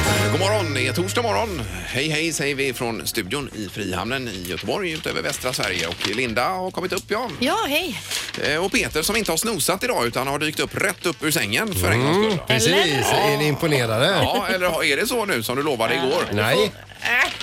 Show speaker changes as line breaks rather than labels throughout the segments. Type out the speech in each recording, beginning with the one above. Det är torsdag Eh, morgon. Hej, hej säger vi från studion i Frihamnen i Göteborg utöver västra Sverige. Och Linda har kommit upp, ja.
Ja, hej.
Eh, Och Peter som inte har snosat idag utan har dykt upp rätt upp ur sängen för en gångs
Mm,
skull.
Mm. Precis, är ni imponerade?
Mm. Ja, eller har- är det så nu som du lovade
Äh,
igår?
Nej,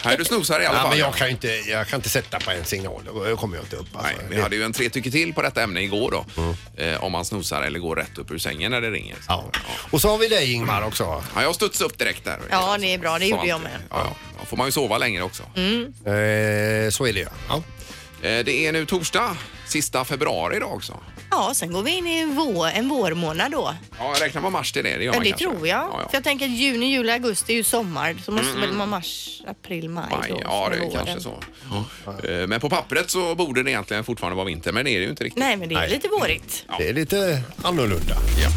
Nej, du snosar i alla
ja,
fall.
men jag kan, ju inte, jag kan inte sätta på en signal. Då kommer jag inte upp. Alltså.
Nej, vi hade ju en tre tycker till på detta ämne igår då. Eh, om man snosar eller går rätt upp ur sängen när det ringer.
ja. Och så har vi dig Ingmar också.
Ja, jag studsade upp direkt där.
Ja, det är bra. Det gjorde
Fan.
jag Mm. med.
Ja, ja. får man ju sova längre också.
Eh, så är det ju. Ja.
Eh, Det är nu torsdag, sista februari idag också.
Ja, sen går vi in i vår, en vårmånad då.
Ja, räknar man mars till det? Det, gör
Ja,
man
det
kanske.
tror jag.
Ja,
För
ja.
jag tänker att juni, juli, augusti är ju sommar. Så måste väl man mars, april, maj
Maj,
då.
ja, det
för
är
våren.
kanske så. Eh, Men på pappret så borde det egentligen fortfarande vara vinter, men det är det ju inte riktigt.
Nej, men det är
Nej.
lite vårigt.
Det är lite annorlunda.
Ja.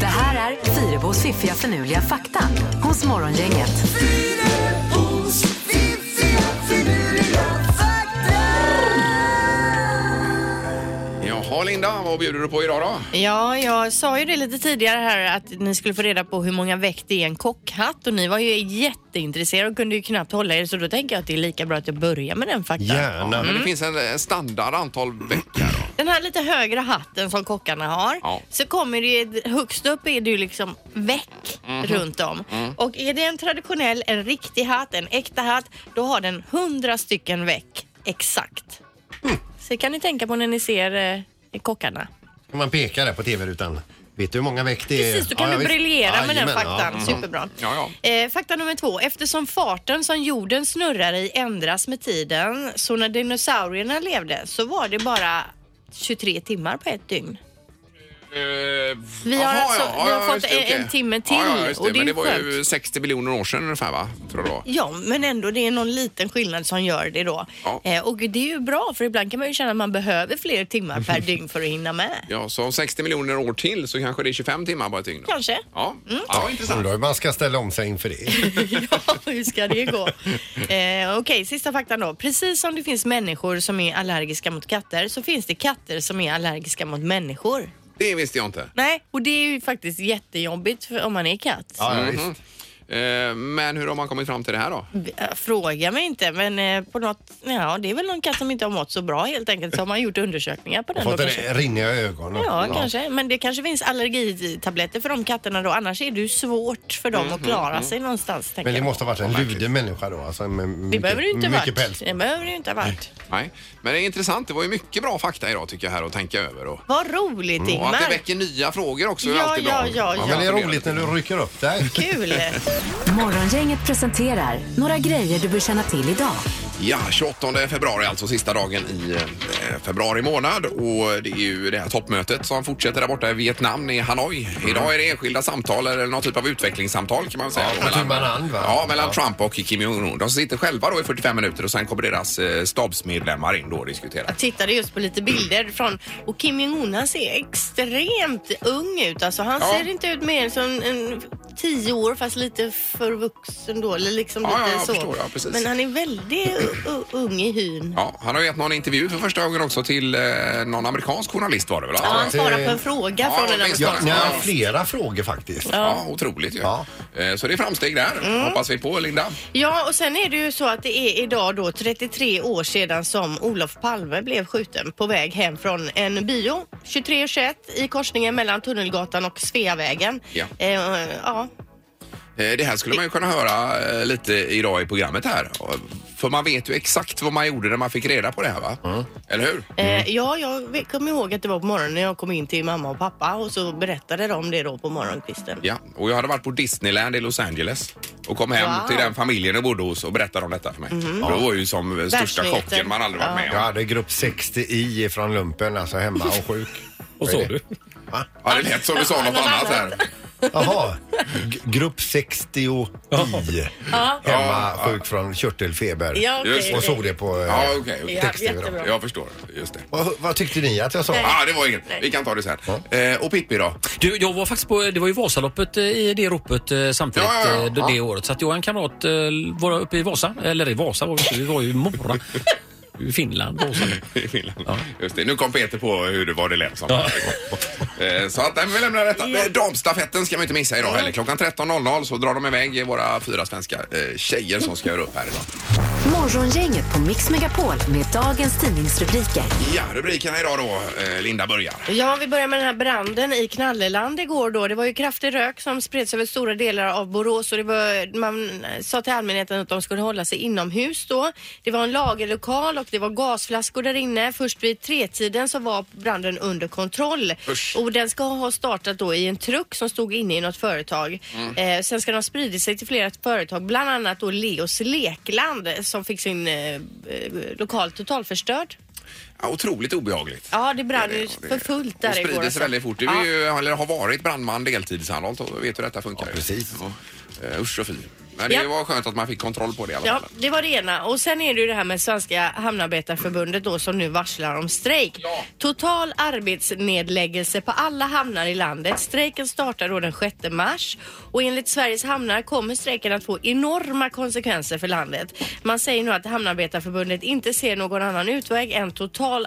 Det här är Fyrabos fiffiga förnuliga fakta hos Morgongänget.
Jaha, Linda, vad bjuder du på idag då?
Ja, jag sa ju det lite tidigare här att ni skulle få reda på hur många veck det är en kockhatt och ni var ju jätteintresserade och kunde ju knappt hålla er så då tänker jag att det är lika bra att jag börjar med den Mm. faktan.
Gärna.
Men det finns en en standard antal veckor. då.
Den här lite högre hatten som kockarna har.
Ja.
Så kommer det ju, högst upp är det ju liksom väck
Mhm.
runt om. Och är det en traditionell, en riktig hatt, en äkta hatt, då har den hundra stycken väck exakt. Så kan ni tänka på när ni ser eh, kockarna.
Kan man peka där på tv-rutan? Vet du hur många veck det är?
Precis, då kan
Ja, ja,
du
visst.
briljera med den
Jajamän,
faktan.
ja. Mm.
Superbra.
Ja,
Eh, fakta nummer två. Eftersom farten som jorden snurrar i ändras med tiden, så när dinosaurierna levde så var det bara 23 timmar på ett dygn. Vi har alltså- vi har fått en- en timme till,
Ja, ja, just det.
och det är
men det var ju
skönt.
60 miljoner år sedan ungefär, va? Tror jag.
Ja, men ändå det är någon liten skillnad som gör det då.
Ja.
Eh, och det är ju bra för ibland kan man ju känna att man behöver fler timmar per dygn för att hinna med.
Ja, så om 60 miljoner år till så kanske det är 25 timmar på ett dygn. då.
Kanske.
Ja,
Mm.
ja intressant.
Undrar hur man ska ställa om sig inför det.
ja, hur ska det gå? Eh, Okej, sista faktan då. Precis som det finns människor som är allergiska mot katter så finns det katter som är allergiska mot människor.
Det visste jag inte.
Nej, och det är ju faktiskt jättejobbigt för, om man är katt. Mm.
Ja, ja, visst.
Mhm. Eh, Men hur har man kommit fram till det här då?
Eh, Fråga mig inte, men eh, på något, ja, det är väl någon katt som inte har mått så bra helt enkelt så har man gjort undersökningar på den. då
Fått
kanske.
en rinniga ögon. och-
Ja, kanske. Men det kanske finns allergitabletter för de katterna då. Annars är det ju svårt för dem att klara sig någonstans. tänker
Men det
jag.
måste ha varit en luder människa då. Alltså, med mycket,
det behöver det ju inte ha
mycket
varit.
päls.
Det behöver det ju inte ha varit.
Nej, men det är intressant. Det var ju mycket bra fakta idag tycker jag här att tänka över. Och, Mm.
Vad roligt
och att det
Ingmar.
väcker nya frågor också är
Ja,
alltid
ja,
bra.
ja, ja.
Man
Men det är
funderar
roligt
lite.
när du rycker upp dig.
Kul!
Morgongänget presenterar några grejer du bör känna till idag.
Ja, 28 februari, alltså sista dagen i eh, februari månad. Och det är ju det här toppmötet som fortsätter där borta i Vietnam, i Hanoi. Idag är det enskilda samtal eller någon typ av utvecklingssamtal kan man säga.
Ja, på tu man hand, va?
ja, mellan
Ja.
Trump och Kim Jong-Un. De sitter själva då i 45 minuter och sen kommer deras eh, stabsmedlemmar in då och diskuterar.
Jag tittade just på lite bilder från och Kim Jong-Un han ser extremt ung ut. Alltså han
Ja.
ser inte ut mer som en tio år fast lite för vuxen då. Eller liksom
Ja,
lite
ja, jag
så.
förstår, ja, precis.
Men han är väldigt u- u- ung i hyn.
Ja, han har gett någon intervju för första gången också till eh, någon amerikansk journalist var det väl?
Ja,
Alltså,
han svarar på en fråga
Ja,
från en
visst.
Ja,
amerikan.
ni har flera frågor faktiskt.
Ja, otroligt ju.
Ja.
Eh, Så det är framsteg där,
Mm.
hoppas vi på Linda.
Ja, och sen är det ju så att det är idag då 33 år sedan som Olof Palme blev skjuten på väg hem från en bio 23.21 i korsningen mellan Tunnelgatan och Sveavägen.
Ja.
Eh, ja.
Eh, Det här skulle man ju kunna höra eh, lite idag i programmet här. Och- För man vet ju exakt vad man gjorde när man fick reda på det här va? Eller hur?
Eh, ja, jag vet- kommer ihåg att det var på morgonen när jag kom in till mamma och pappa och så berättade de det då på morgonkvisten.
Ja, och jag hade varit på Disneyland i Los Angeles och kom hem
Wow.
till den familjen jag bodde hos och berättade om detta för mig. Och det var ju som eh, största
Världsnyheter.
chocken man aldrig varit med
Jag
om.
hade grupp 60i från lumpen, alltså hemma och sjuk.
Och
Vad
så
är det?
du.
Va?
Ja, det lät som du sa något annat här.
Jaha, G- grupp 60i.
Ja,
Hemma sjuk från körtelfeber.
ja okej.
Just det.
Och såg det på eh,
Ja, okej.
Ja,
texter.
jättebra.
Jag förstår, just det.
Vad, vad tyckte ni att jag sa?
Ja, ah, det var inget. Vi kan ta det sen. Eh, och Pippi då?
Du, jag var faktiskt på, det var ju Vasaloppet eh, i det ropet eh, samtidigt
Ja, ja, ja.
eh, det, det året. Så att jag och en kamrat eh, var uppe i Vasa, eller i Vasa var vi inte, vi var ju i Mora. Finland. Åsa.
I Finland. Just det. Nu kom Peter på hur det var det lät som. Eh, Så att, nej, men vi lämnar detta. Eh, Damstafetten ska man inte missa idag heller. Klockan 13.00 så drar de iväg våra fyra svenska eh, tjejer som ska göra upp här idag.
Morgongänget på Mix Megapol med dagens tidningsrubriker.
Ja, rubrikerna idag då. Eh, Linda börjar.
Ja, vi börjar med den här branden i Knalleland igår då. Det var ju kraftig rök som spreds över stora delar av Borås och det var, man sa till allmänheten att de skulle hålla sig inomhus då. Det var en lagerlokal och det var gasflaskor där inne. Först vid tretiden så var branden under kontroll.
Usch.
Och den ska ha startat då i en truck som stod inne i något företag. Eh, sen ska den ha spridit sig till flera företag, bland annat då Leos Lekland som fick sin eh, eh, lokal totalförstörd.
Ja, otroligt obehagligt.
Ja, det brann ju
det-
för fullt där
Och
igår.
sprider sig
alltså.
väldigt fort. Du är ju, eller har varit brandman deltidshandlad och vet hur detta funkar. Ja,
precis.
Usch och fy. Men det
Ja.
var skönt att man fick kontroll på det i alla
Ja,
fall.
det var det ena. Och sen är det ju det här med Svenska Hamnarbetarförbundet då som nu varslar om strejk.
Ja.
Total arbetsnedläggelse på alla hamnar i landet. Strejken startar då den 6 mars och enligt Sveriges hamnar kommer strejken att få enorma konsekvenser för landet. Man säger nu att Hamnarbetarförbundet inte ser någon annan utväg än total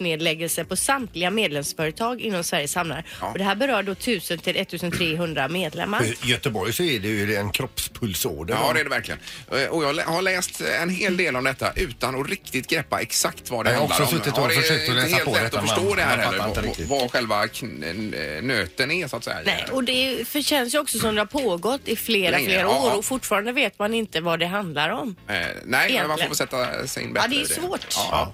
arbetsnedläggelse på samtliga medlemsföretag inom Sveriges hamnar. Och det här berör då 1000 till 1300 medlemmar.
I Göteborg så är det ju en kroppspulsåder.
Ja, det är det verkligen. Eh, Och jag lä- har läst eh, en hel del om detta utan att riktigt greppa exakt vad det
Jag har
handlar om.
också suttit och
det är
försökt att läsa
inte helt
på
lätt
detta,
att förstå
men
det här
man fattar
heller,
inte
vad-
riktigt.
vad själva kn- nöten är så att säga.
Nej, och det för känns ju också som det har pågått i flera,
Länge,
flera
ja.
år och fortfarande vet man inte vad det handlar om.
Eh, nej, men man får
Egentligen.
väl sätta sig in bättre
Ja, det är
i
svårt.
Ja.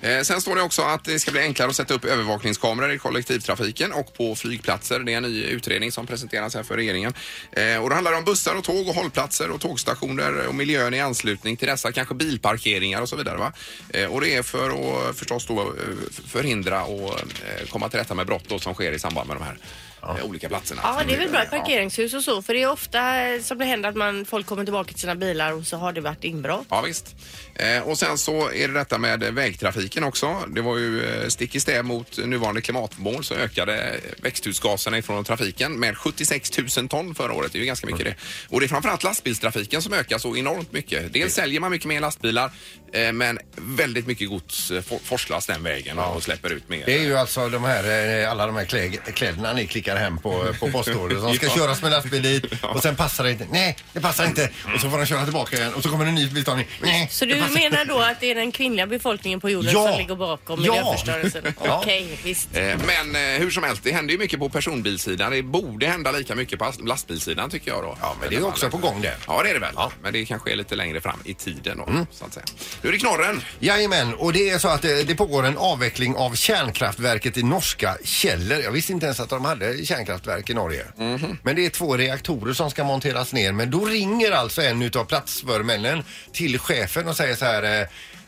Eh, sen står det också att det ska bli enklare att sätta upp övervakningskameror i kollektivtrafiken och på flygplatser. Det är en ny utredning som presenteras här för regeringen. Eh, och det handlar om bussar och tåg och hållplatser och tågstationer och miljön i anslutning till dessa. Kanske bilparkeringar och så vidare. Va? Eh, och det är för att förstås då, eh, f- förhindra och eh, komma till rätta med brott då, som sker i samband med de här eh, olika platserna.
Ja, det är väl bra i
Ja.
parkeringshus och så, för det är ofta eh, som det händer att man, folk kommer tillbaka till sina bilar och så har det varit inbrott.
Ja, visst. Eh, och sen så är det detta med vägtrafiken också. Det var ju eh, stick i stäv mot nuvarande klimatmål så ökade växthusgaserna ifrån trafiken med 76 000 ton förra året. Det är ju ganska mycket det. Och det är framförallt lastbilstrafiken som ökar så enormt mycket. Dels säljer man mycket mer lastbilar eh, men väldigt mycket gods eh, for- forslas den vägen och släpper ut mer.
Det är ju alltså de här, eh, alla de här klä- kläderna ni klickar hem på, eh, på postorder som ska
Ja.
köras med lastbil dit och sen passar det inte. Nej, det passar inte. Och så får de köra tillbaka igen och så kommer det en ny biltagning. Nej,
Så
det
du
passar
Alltså-
menar då att det är den kvinnliga befolkningen på jorden
Ja.
som ligger bakom
Ja.
miljöförstörelsen?
Ja.
Okej, visst.
Eh, Men eh, hur som helst, det händer ju mycket på personbilsidan. Det borde hända lika mycket på lastbilsidan tycker jag då.
Ja, men det är ju också på gång det. Mm.
Ja, det är det väl. Men det kanske är lite längre fram i tiden då, så att säga. Nu är det knorren.
Jajamän, och det är så att eh, det, det pågår en avveckling av kärnkraftverket i norska Källor. Jag visste inte ens att de hade kärnkraftverk i Norge. Men det är två reaktorer som ska monteras ner. Men då ringer alltså en utav platsförmännen till chefen och säger så här eh,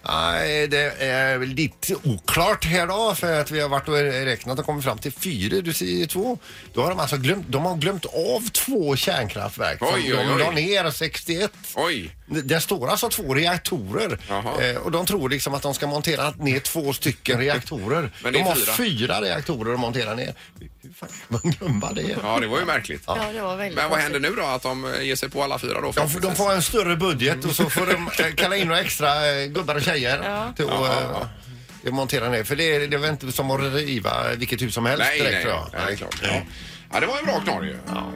Nej, det är väl lite oklart här då för att vi har varit och räknat och kommit fram till fyra, du säger två. Då har de alltså glömt, de har glömt av två kärnkraftverk som
Oj, oj,
de la
oj.
ner 61.
Oj!
Där står alltså två reaktorer
Jaha.
eh, och de tror liksom att de ska montera ner två stycken reaktorer.
Men det är
de har
fyra.
fyra. reaktorer att montera ner. Hur fan kan man glömma det?
Ja, det var ju märkligt.
Ja, det var väldigt
Men vad
konstigt.
händer nu då? Att de eh, ger sig på alla fyra då?
De, får- de får en större budget och så får de eh, kalla in några extra eh, gubbar och tjejer till att eh, montera ner. För det är, det är väl inte som att riva vilket hus som helst
Nej,
direkt
nej,
tror jag.
nej, det är klart. Ja. ja, det var en bra knorr ju. Ja.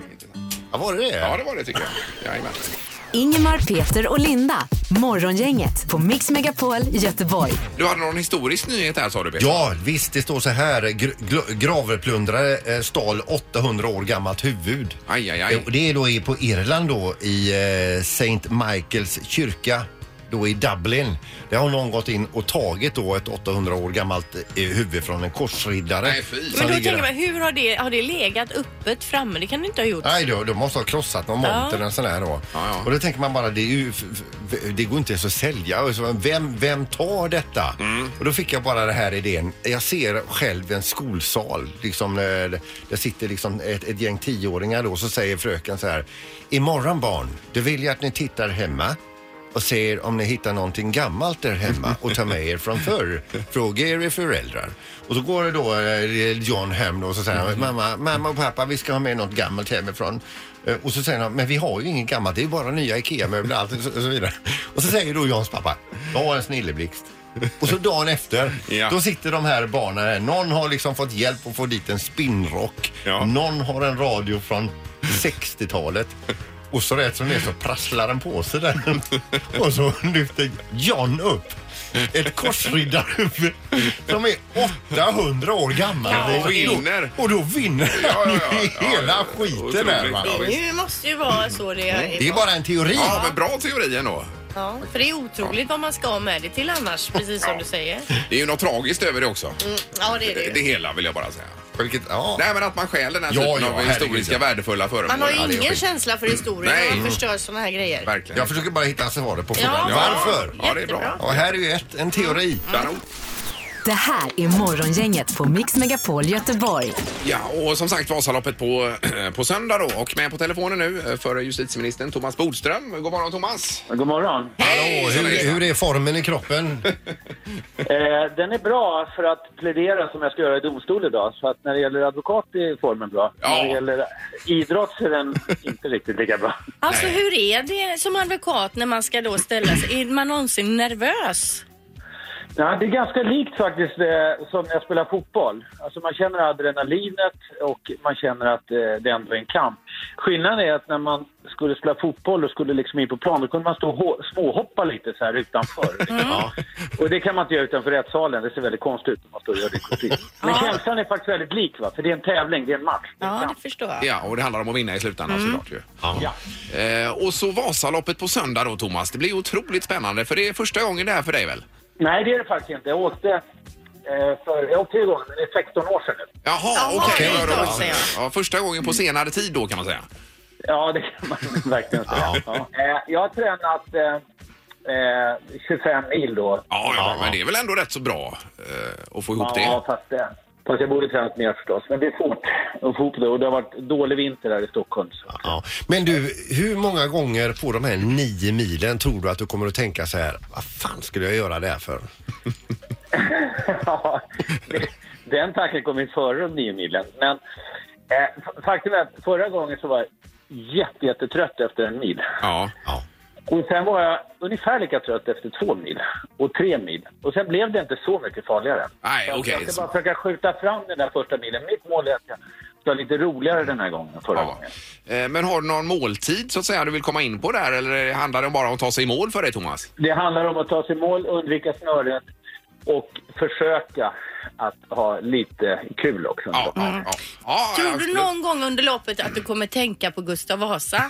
Ja, var det det?
ja, det var det tycker jag. Jajamän.
Ingemar, Peter och Linda. Morgongänget på Mix Megapol Göteborg.
Du hade någon historisk nyhet här sa du Peter.
Ja, visst det står så här. Gr- gl- graverplundrare eh, stal 800 år gammalt huvud.
Aj, aj, aj.
Eh, Och det är då i- på Irland då i eh, St. Michaels kyrka då i Dublin. Där har någon gått in och tagit då ett 800 år gammalt eh, huvud från en korsriddare.
Nej, fy.
som
Men då
ligger
tänker
där.
man, hur har det, har det legat öppet framme? Det kan det inte ha gjort.
Nej, då, de måste ha krossat någon
Ja.
monter eller sån här då.
ja.
Och då tänker man bara, det, är ju, f- f- det går inte ens att sälja. Och så, Vem, vem tar detta? Och då fick jag bara den här idén. Jag ser själv en skolsal. Liksom, eh, där sitter liksom ett, ett gäng tioåringar då. Så säger fröken så här. Imorgon barn, då vill jag att ni tittar hemma och ser om ni hittar någonting gammalt där hemma och tar med er från förr. Fråga er föräldrar. Och så går det då eh, John hem då och så säger han, mamma, mamma och pappa vi ska ha med något gammalt hemifrån. Eh, Och så säger han, men vi har ju inget gammalt, det är ju bara nya IKEA-möbler och allt och så och så vidare. Och så säger då Johns pappa, jag har en snilleblixt. Och så dagen efter,
Ja.
då sitter de här barnen här. Någon har liksom fått hjälp att få dit en spinnrock.
Ja.
Någon har en radio från 60-talet. Och så rätt som det är så prasslar den på sig där. Och så lyfter John upp ett korsriddarhuvud som är 800 år gammal.
Ja, och vinner.
Och då vinner
Ja,
han
ja,
ju
ja, ja,
hela
ja, ja.
skiten där va.
Otroligt.
Det är ju- måste ju vara så det
Mm.
är.
Det är bara en teori.
Ja, men bra teori ändå.
Ja, för det är otroligt vad man ska ha med det till annars, precis som du säger.
Det är ju något tragiskt över det också.
Mm, Ja, det är det
Det,
ju.
det hela vill jag bara säga.
Vilket, ja.
Nej, men att man stjäl den här
Ja,
typen
ja,
av
herregud,
historiska
ja.
värdefulla föremål.
Man har
Ja, det
ju
är
ingen
skit.
känsla för historien
Nej.
när man förstör sådana här grejer.
Verkligen.
Jag försöker bara hitta svaret på
Ja,
frågan. Varför?
Ja, det är bra.
Jättebra.
Och här är ju ett, en teori.
Kanon.
Det här är Morgongänget på Mix Megapol Göteborg.
Ja, och som sagt Vasaloppet på, på söndag då. Och med på telefonen nu eh, för justitieministern Thomas Bodström. God morgon Thomas!
God morgon.
Hej!
Hallå, hur, hur är formen i kroppen?
Eh, den är bra för att plädera som jag ska göra i domstol idag. Så att när det gäller advokat är formen bra.
Ja.
När det gäller idrott så är den inte riktigt lika bra.
Alltså hur är det som advokat när man ska då ställa sig? Är man någonsin nervös?
Ja, det är ganska likt faktiskt eh, som när jag spelar fotboll. Alltså man känner adrenalinet och man känner att eh, det ändå är en kamp. Skillnaden är att när man skulle spela fotboll och skulle liksom in på plan, då kunde man stå och hå- småhoppa lite så här utanför. Ja. Och det kan man inte göra utanför rättssalen, det ser väldigt konstigt ut om man står och gör det i kostym. Men känslan är faktiskt väldigt lik va, för det är en tävling, det är en match. Det är en
Ja,
kamp.
det förstår jag.
Ja, och det handlar om att vinna i slutändan
Mm.
såklart ju.
Ja.
Eh, och så Vasaloppet på söndag då Thomas. Det blir otroligt spännande för det är första gången det här för dig väl?
Nej, det är det faktiskt inte. Jag åkte, eh, för, jag åkte igång, men det är 16 år sedan nu.
Jaha,
Jaha,
okej.
det är
Ja, då-
klart, säger
ja, första gången
Mm.
på senare tid då kan man säga.
Ja, det kan man verkligen säga. Ja. Eh, Jag har tränat eh, eh, 25 mil då.
Ja, ja, men det är väl ändå rätt så bra eh, att få ihop
Ja,
det.
fast, eh, fast jag borde tränat mer förstås. Men det är svårt att få ihop det och det har varit dålig vinter här i Stockholm. Så.
Ja. Men du, hur många gånger på de här nio milen tror du att du kommer att tänka så här, vad fan skulle jag göra det här för?
Ja, det- Den tanken kom in före de nio milen. Men eh, f- faktum är att förra gången så var jag jätte, jättetrött efter en mil.
Ja,
Ja.
Och sen var jag ungefär lika trött efter två mil och tre mil. Och sen blev det inte så mycket farligare.
nej
Så
okej.
Jag ska bara försöka skjuta fram den där första milen. Mitt mål är att jag ska ha lite roligare den här gången än förra
Ja.
gången.
Eh, Men har du någon måltid så att säga du vill komma in på där eller handlar det bara om att ta sig i mål för dig Thomas?
Det handlar om att ta sig i mål, undvika snöret och försöka att ha lite kul också.
Ja, ja, ja. ja
Tror du
absolut.
någon gång under loppet att du kommer tänka på Gustav Vasa?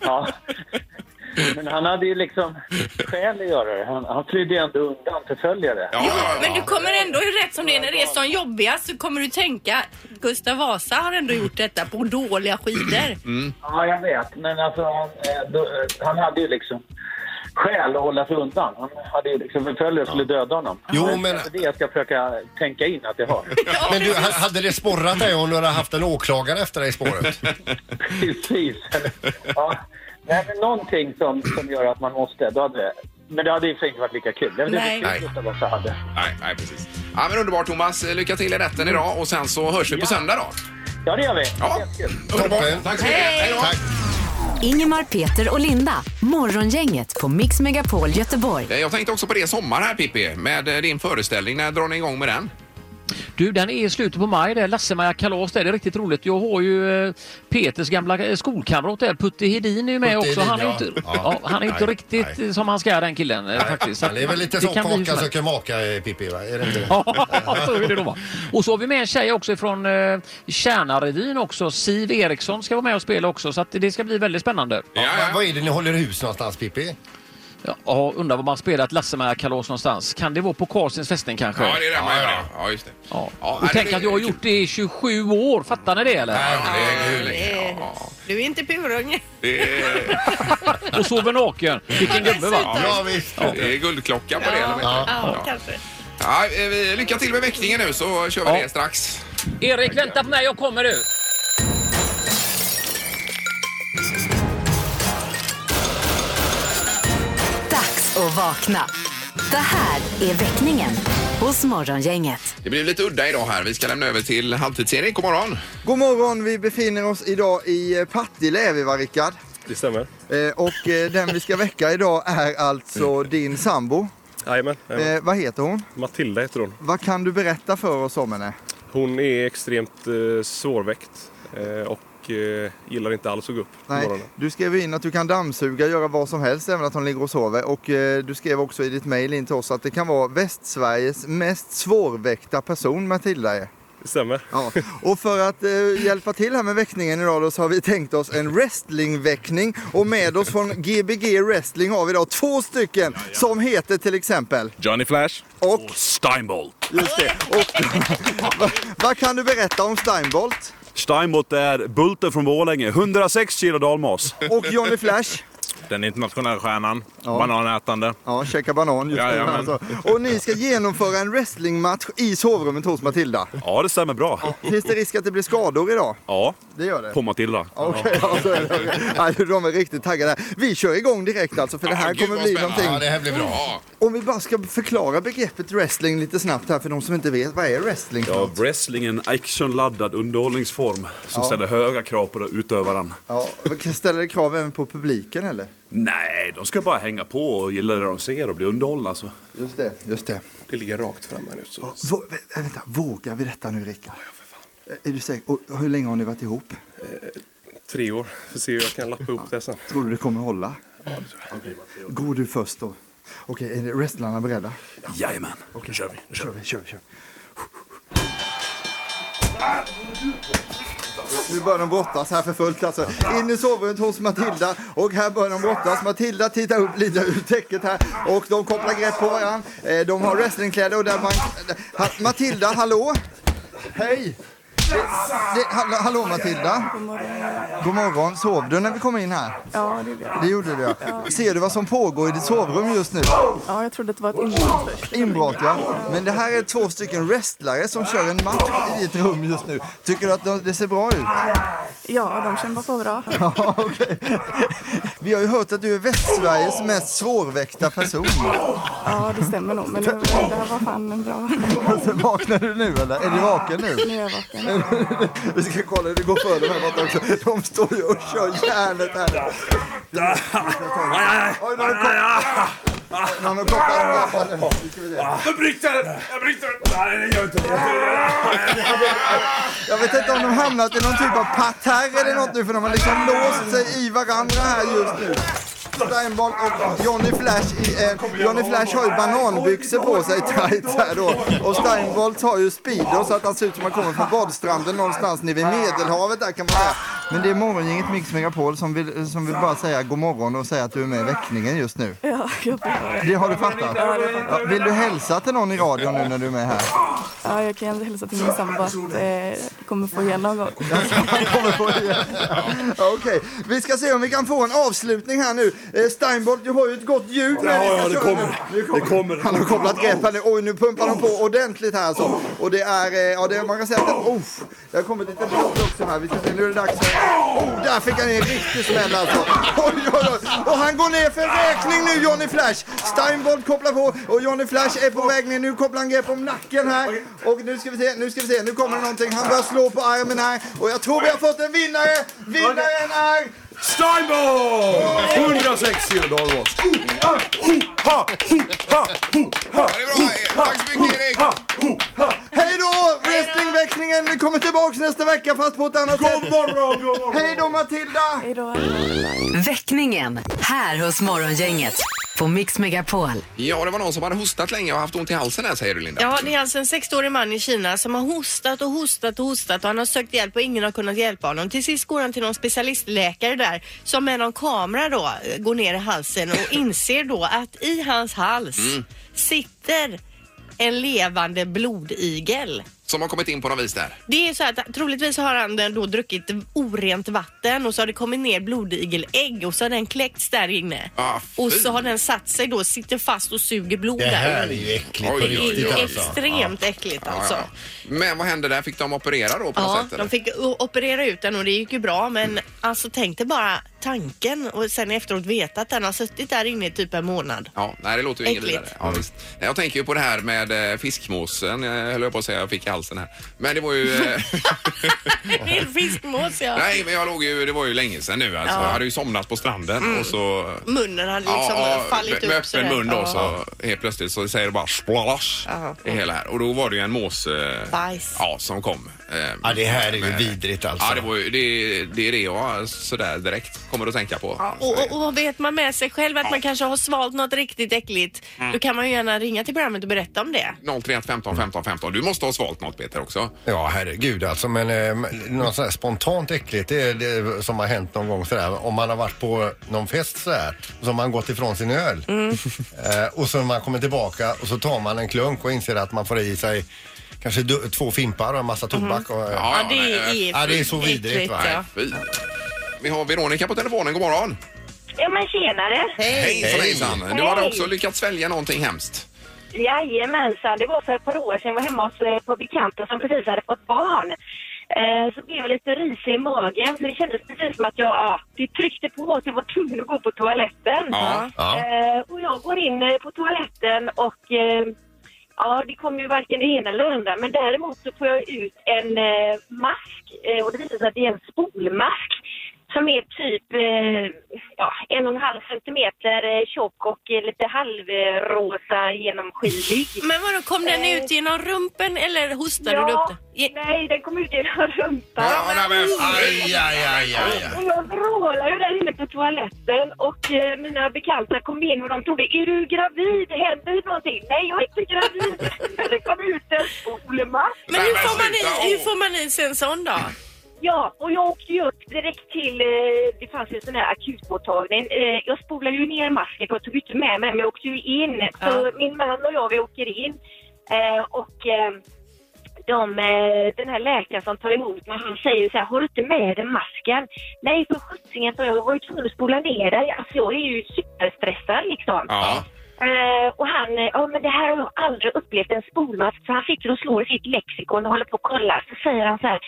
Ja. Men han hade ju liksom skäl att göra det. Han, han flydde ju ändå undan förföljare.
Ja, ja,
Men du kommer ändå, rätt som det är, när det är som jobbigast så kommer du tänka Gustav Vasa har ändå gjort detta på dåliga skidor.
Ja, jag vet. Men alltså, han, eh, då, eh, han hade ju liksom skäl att hålla sig undan. Han hade ju liksom förföljare skulle döda honom.
Jo,
Det är
men-
Det jag ska försöka tänka in att jag har.
Men du, ha- hade det sporrat dig om du hade haft en åklagare efter dig i spåret?
Precis. Ja. Nej, men någonting som, som gör att man måste. Då hade, det- men det hade ju för sig inte varit lika kul. Det hade
Nej.
varit kul utan vad jag hade.
Nej, nej, precis. Ja, men underbart Thomas. Eh, Lycka till i rätten idag och sen så hörs vi på söndag då.
Ja, det gör vi.
Ja.
Jättekul.
Underbart.
Toppen.
Tack så mycket.
Hej.
Hej då.
Tack.
Ingemar, Peter och Linda. Morgongänget på Mix Megapol Göteborg.
Eh, Jag tänkte också på det sommar här Pippi, med eh, din föreställning. När drar ni igång med den?
Du, den är i slutet på maj där. Lassemaja kalas där. Det är riktigt roligt. Jag har ju eh, Peters gamla eh, skolkamrat där. Putte Hedin är ju med
Putte
också. Han är
Hedin,
inte,
ja.
ja.
Ja.
han är inte
Nej,
riktigt
nej.
som han ska den killen eh, faktiskt. Så
Han är väl lite
det
som
kan bli hur
kaka
som helst.
söker maka, eh, Pippi, va? Är det inte det?
Ja, så är det då. Och så har vi med en tjej också från eh, Kärnarevyn också. Siv Eriksson ska vara med och spela också så att det ska bli väldigt spännande.
Ja,
Vad-
ja.
Vad är det ni håller hus någonstans, Pippi?
Ja, Ja, undrar var man spelar ett Lassemaja-kalas någonstans. Kan det vara på Karlsens fästning kanske?
ja det är det man gör. ja. Ja, just det.
Ja.
Ja,
och tänk
det-
att jag har gjort det i 27 år. Fattar ni det eller?
Herregud. Ja,
Du är inte purung.
det är-
Och sover naken. Vilken gubbe va?
Ja, visst.
Det är guldklocka på det. eller vad heter det?
Ja, kanske.
Ja, eh, vi- lycka till med väckningen nu så kör vi
Ja.
det strax.
Erik, vänta på mig. Jag kommer nu.
Dags att vakna. Det här är väckningen hos Morgongänget.
Det blir lite udda idag här. Vi ska lämna över till halvtids-Erik. God morgon!
God morgon, vi befinner oss idag i eh, Partille är vi va Rickard?
Det stämmer.
Eh, och eh, den vi ska väcka idag är
Mm.
alltså din sambo.
Jajamän. jajamän.
Eh, vad heter hon?
Matilda heter hon.
Vad kan du berätta för oss om henne?
Hon är extremt eh, svårväckt eh, och eh, gillar inte alls att gå upp på
Nej,
morgonen.
du skrev in att du kan dammsuga, göra vad som helst, även att hon ligger och sover. Och eh, du skrev också i ditt mejl in till oss att det kan vara Västsveriges mest svårväckta person Matilda är.
Det stämmer.
Ja. Och för att eh, hjälpa till här med väckningen idag då, så har vi tänkt oss en wrestlingväckning. Och med oss från Gbg wrestling har vi idag två stycken som heter till exempel...
Johnny Flash.
Och,
Steinbolt.
just det, och vad vad kan du berätta om Steinbolt
Steinbolt är Bulten från Borlänge. 106 kilo dalmas.
och Johnny Flash?
Den internationella stjärnan. Bananätande.
Ja, käka banan just nu.
Jajamän.
Alltså. Och ni ska genomföra en wrestlingmatch i sovrummet hos Matilda.
Ja, det stämmer bra.
Finns det risk att det blir skador idag?
Ja,
Det gör det.
på Matilda.
Okej, ja, så är det. Nej, de är riktigt taggade. Vi kör igång direkt alltså för det här
Ja, gud,
kommer
vad
bli
spännande.
någonting.
Ja, det här blir bra.
Ja,
Om vi bara ska förklara begreppet wrestling lite snabbt här för de som inte vet. Vad är wrestling?
Ja, wrestling är en actionladdad underhållningsform som ställer höga krav på utövaren.
Ja, ställer det krav även på publiken eller?
Nej, de ska bara hänga på och gilla det de ser och bli underhållna. alltså. Så.
Just det, just det.
Det ligger rakt fram här nu. Så.
Vå, vä- vänta, vågar vi detta nu Rickard? Eh, Är du säker? Och hur länge har ni varit ihop?
Tre år. Får se hur jag kan lappa ihop det sen.
Tror du det kommer hålla? Går du först då? Okej, är wrestlarna beredda?
Jajamän, nu kör vi. Nu kör vi.
kör vi, kör vi, kör vi. Nu börjar de brottas här för fullt alltså. In i sovrummet hos Matilda och här börjar de brottas. Matilda tittar upp lite ur täcket här och de kopplar grepp på varandra. Eh, De har wrestlingkläder och där man... Ha- Matilda, hallå? Hej! Det, det, hallå, hallå Matilda? God morgon. God morgon. Sov du när vi kom in här?
Ja, det är det.
Det gjorde du ja. Ser du vad som pågår i ditt sovrum just nu?
Ja, jag trodde att det var ett inbrott först.
Inbrott ja. Men det här är två stycken wrestlare som kör en match i ditt rum just nu. Tycker du att de- det ser bra ut?
Ja, de kämpar på bra.
Ja, okej. Vi har ju hört att du är Västsveriges mest svårväckta person.
Ja, det stämmer nog. Men nu, det här var fan en bra...
Alltså, vaknar du nu eller? Är du vaken nu?
Nu är jag vaken.
Vi ska kolla hur det går för dem här borta också. De står ju och kör järnet här. Oj, nu har de kopplat- Nu har de kopplat dem i alla fall. Nu ska vi se.
Jag bryter den! Jag bryter den! Nej, det gör jag inte.
Jag vet inte om de hamnat i någon typ av parterre eller något nu för de har liksom låst sig i varandra här just nu. Steinbolt och Johnny Flash, i, eh, Johnny Flash har ju bananbyxor på sig tight här då. Och Steinbolt har ju speedo så att han ser ut som han kommer från badstranden någonstans nere vid Medelhavet där kan man säga. Men det är morgongänget Mix Megapol som vill, som vill bara säga god morgon och säga att du är med i väckningen just nu.
Ja, jag,
Det har du fattat? Ja, vill du hälsa till någon i radion nu när du är med här?
ja, jag kan hälsa till min sambo att eh, jag kommer få igen någon gång.
Han kommer på igen. Okej, vi ska se om vi kan få en avslutning här nu. Eh, Steinbolt, du har ju ett gott ljud. när vi ska
ja, det
köra
kommer.
nu. Nu kommer.
Det kommer.
Han har kopplat grepp här nu. Oj, nu pumpar de på ordentligt här alltså. Och det är, eh, ja det, man kan säga att det, oh, det har kommit lite blod också här. Vi ska se, nu är det dags för... Oh, där fick han en riktig smäll alltså. Oj, oj, oj. Och han går ner för räkning nu, Johnny Flash. Steinbolt kopplar på och Johnny Flash är på väg ner. Nu kopplar han grepp om nacken här. Och nu ska vi se, nu ska vi se, nu kommer det någonting. Han börjar slå på armen här. Och jag tror vi har fått en vinnare. Vinnaren är...
Steinbolt! 106 kilo dalmas. Ho, ha, ho, ha, ho, ha,
det är bra. Tack så mycket Erik.
ha, ho, ha.
Hej då! Wrestlingväxlingen! Vi kommer tillbaks nästa vecka fast på ett annat sätt.
God morgon, god morgon!
Hej då Matilda!
Hej då.
Väckningen här hos Morgongänget på Mix Megapol.
Ja, det var någon som hade hostat länge och haft ont i halsen här säger du Linda.
Ja, det är alltså en 60-årig man i Kina som har hostat och hostat och hostat och han har sökt hjälp och ingen har kunnat hjälpa honom. Till sist går han till någon specialistläkare där som med någon kamera då eh, går ner i halsen och inser då att i hans hals sitter en levande blodigel.
Som har kommit in på något vis där.
Det är så att troligtvis har han den då druckit orent vatten och så har det kommit ner blodigelägg och så har den kläckts där inne.
Ah, fy.
och så har den satt sig då, sitter fast och suger blod
Det här
där.
är ju äckligt
Oj,
på
oj,
Det är
oj,
riktigt
ju
alltså.
extremt äckligt alltså.
Ja, ja. Men vad hände där? Fick de operera då på något
Ja,
sätt? eller? Mm.
de fick o- operera ut den och det gick ju bra men alltså tänk dig bara tanken och sen efteråt veta att den har suttit där inne i typ en månad.
Ja, nej, det låter ju inget
Äckligt.
vidare. Ja, visst. Nej, Jag tänker ju på det här med eh, fiskmåsen, eh, höll jag på att säga, jag fick i halsen här. Men det var ju... eh,
Min fiskmås ja.
Nej, men jag låg ju... Det var ju länge sedan nu alltså.
Ja. Mm.
Jag hade ju somnat på stranden och så...
Munnen hade liksom fallit
med,
upp
med
sådär.
öppen mun då
Ja.
så helt plötsligt så säger det bara splash
Ja.
i hela här. Och då var det ju en mås... eh,
Bajs.
Ja, som kom. Eh,
Ja, det här är ju
med-
vidrigt alltså.
Ja, det, var ju, det, det är det jag sådär direkt kommer att tänka på.
Ja, och, och, och vet man med sig själv att man kanske har svalt något riktigt äckligt,
Mm.
då kan man ju gärna ringa till programmet och berätta om det.
031 15
Mm.
15 15. Du måste ha svalt något Peter också.
Ja, herregud alltså. Men eh, något sånt här spontant äckligt det är det som har hänt någon gång sådär. Om man har varit på någon fest sådär och så har man gått ifrån sin öl.
Mm.
Eh, och så när man kommer tillbaka och så tar man en klunk och inser att man får i sig kanske du- två fimpar och en massa tobak. Och, eh,
Mm. Ja, det är
ja, det är så vidrigt va?
Nej, fy. Vi har Veronica på telefonen. God morgon.
Ja men tjenare!
Hej, hejsan. Du
Hej.
hade också lyckats svälja någonting hemskt.
Jajamensan, det var för ett par år sedan. Jag var hemma hos eh, på bekanta som precis hade fått barn. Eh, så blev jag lite risig i magen för det kändes precis som att jag, ja, det tryckte på att jag var tvungen att gå på toaletten.
Ja, ja.
Eh, och jag går in eh, på toaletten och eh, ja, det kommer ju varken det ena eller det andra. Men däremot så får jag ut en eh, mask eh, och det visar sig att det är en spolmask som är typ eh, ja, en och en halv centimeter eh, tjock och eh, lite halvrosa genomskinlig. Eh.
Men vadå, kom den ut genom rumpen eller hostade du upp den?
Nej, den kom ut genom rumpan.
Ja, men,
aj, aj, aj, aj.
Och jag vrålade ju där inne på toaletten och eh, mina bekanta kom in och de trodde Är du gravid? Händer det någonting? Nej, jag är inte gravid. det kom ut en spolmask.
Men hur får, man i, hur får man i sig en sån då?
Ja, och jag åkte ju upp direkt till, eh, det fanns ju en sån här akutmottagning. Eh, jag spolade ju ner masken för jag tog inte med mig men jag åkte ju in. Så min man och jag vi åker in eh, och eh, de, eh, den här läkaren som tar emot mig han säger så här, har du inte med dig masken? Nej för sjuttsingen, sa jag jag var ju tvungen att spola ner dig. Alltså jag är ju superstressad liksom.
Ja.
Eh, och han, eh, ja men det här har jag aldrig upplevt, en spolmask. Så han sitter och slår i sitt lexikon och håller på och kollar. Så säger han så här,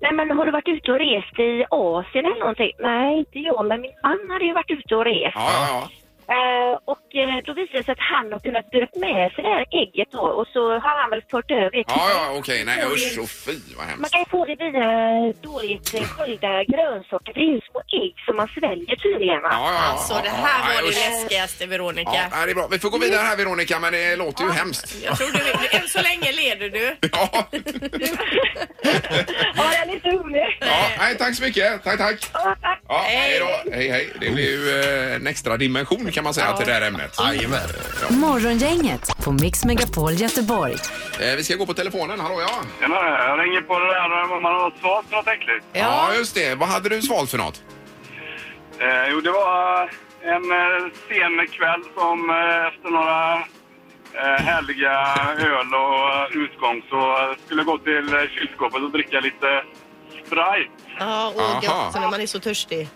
nej men har du varit ute och rest i Asien eller någonting? Nej, inte jag, men min man hade ju varit ute och rest.
Ja,
Eh, och eh, då visade det sig att han har kunnat dra med sig det här ägget då och så har han väl fört över det.
Ja, ja, okej. Nej, usch och fy vad
Man
hemskt.
kan ju få det via dåligt eh, sköljda grönsaker. Det är ju små ägg som man sväljer tydligen va?
Ja, ja, ja.
Så det här
Ja,
var det
usch.
läskigaste Veronica.
Ja, nej, det är bra. Vi får gå vidare här Veronica, men det låter ju hemskt.
Jag tror du vill. Än så länge leder du.
Ja, jag är lite rolig.
Ja, nej, tack så mycket. Tack, tack. Ja, hej då. Hej, hej. Det blir ju eh, en extra dimension kan man säga till det här ämnet.
Jajamän.
Morgongänget på Mix Megapol Göteborg.
Eh, Vi ska gå på telefonen. Hallå, ja.
Tjena, jag ringer på det där om man har svalt något äckligt.
Ja, just det. Vad hade du svalt för något?
Eh, jo, det var en eh, sen kväll som eh, efter några eh, härliga öl och eh, utgång så eh, skulle jag gå till eh, kylskåpet och dricka lite Sprite.
Ja,
Aha.
och gött så när man är så törstig.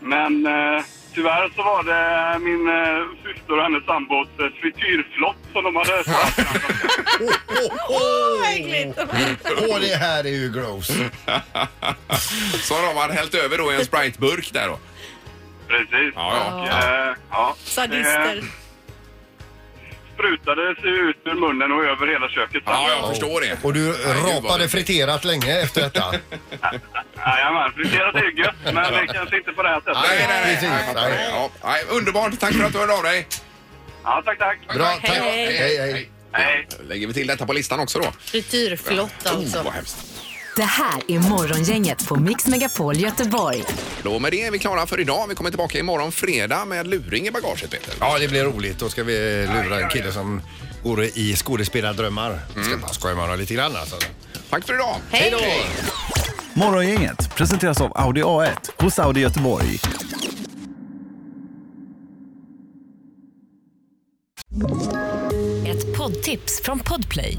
Men eh, tyvärr så var det min eh, syster och hennes sambos eh, frityrflott som de hade tagit.
Åh, vad äckligt!
Mm. Åh, det här är ju gross.
Så de hade hällt över då i en spriteburk där då?
Precis.
Ja, ja.
Eh, ja.
Sadister.
Eh, sprutade sig ut ur munnen och över hela köket. Ja,
jag förstår det.
Och du rapade friterat länge efter detta.
Jajamän, friterat är ju gött, men det kanske inte på det här sättet.
Nej, nej, nej. nej, nej, nej. Ja, nej. Underbart. Tack för att du hörde av dig.
Ja, tack, tack.
Bra, tack.
Hej. Alltså.
Hej, hej. Lägger vi till detta på listan också då?
Frityrflott
Oh, vad
alltså.
hemskt.
Det här är Morgongänget på Mix Megapol Göteborg.
Då med det är vi klara för idag. Vi kommer tillbaka imorgon fredag med luring i bagaget, Peter.
Ja, det blir roligt. Då ska vi lura en kille som går i skådespelardrömmar. Ska bara skoja med honom lite grann alltså.
Tack för idag.
Hej då!
Morgongänget presenteras av Audi A1 hos Audi Göteborg.
Ett poddtips från Podplay.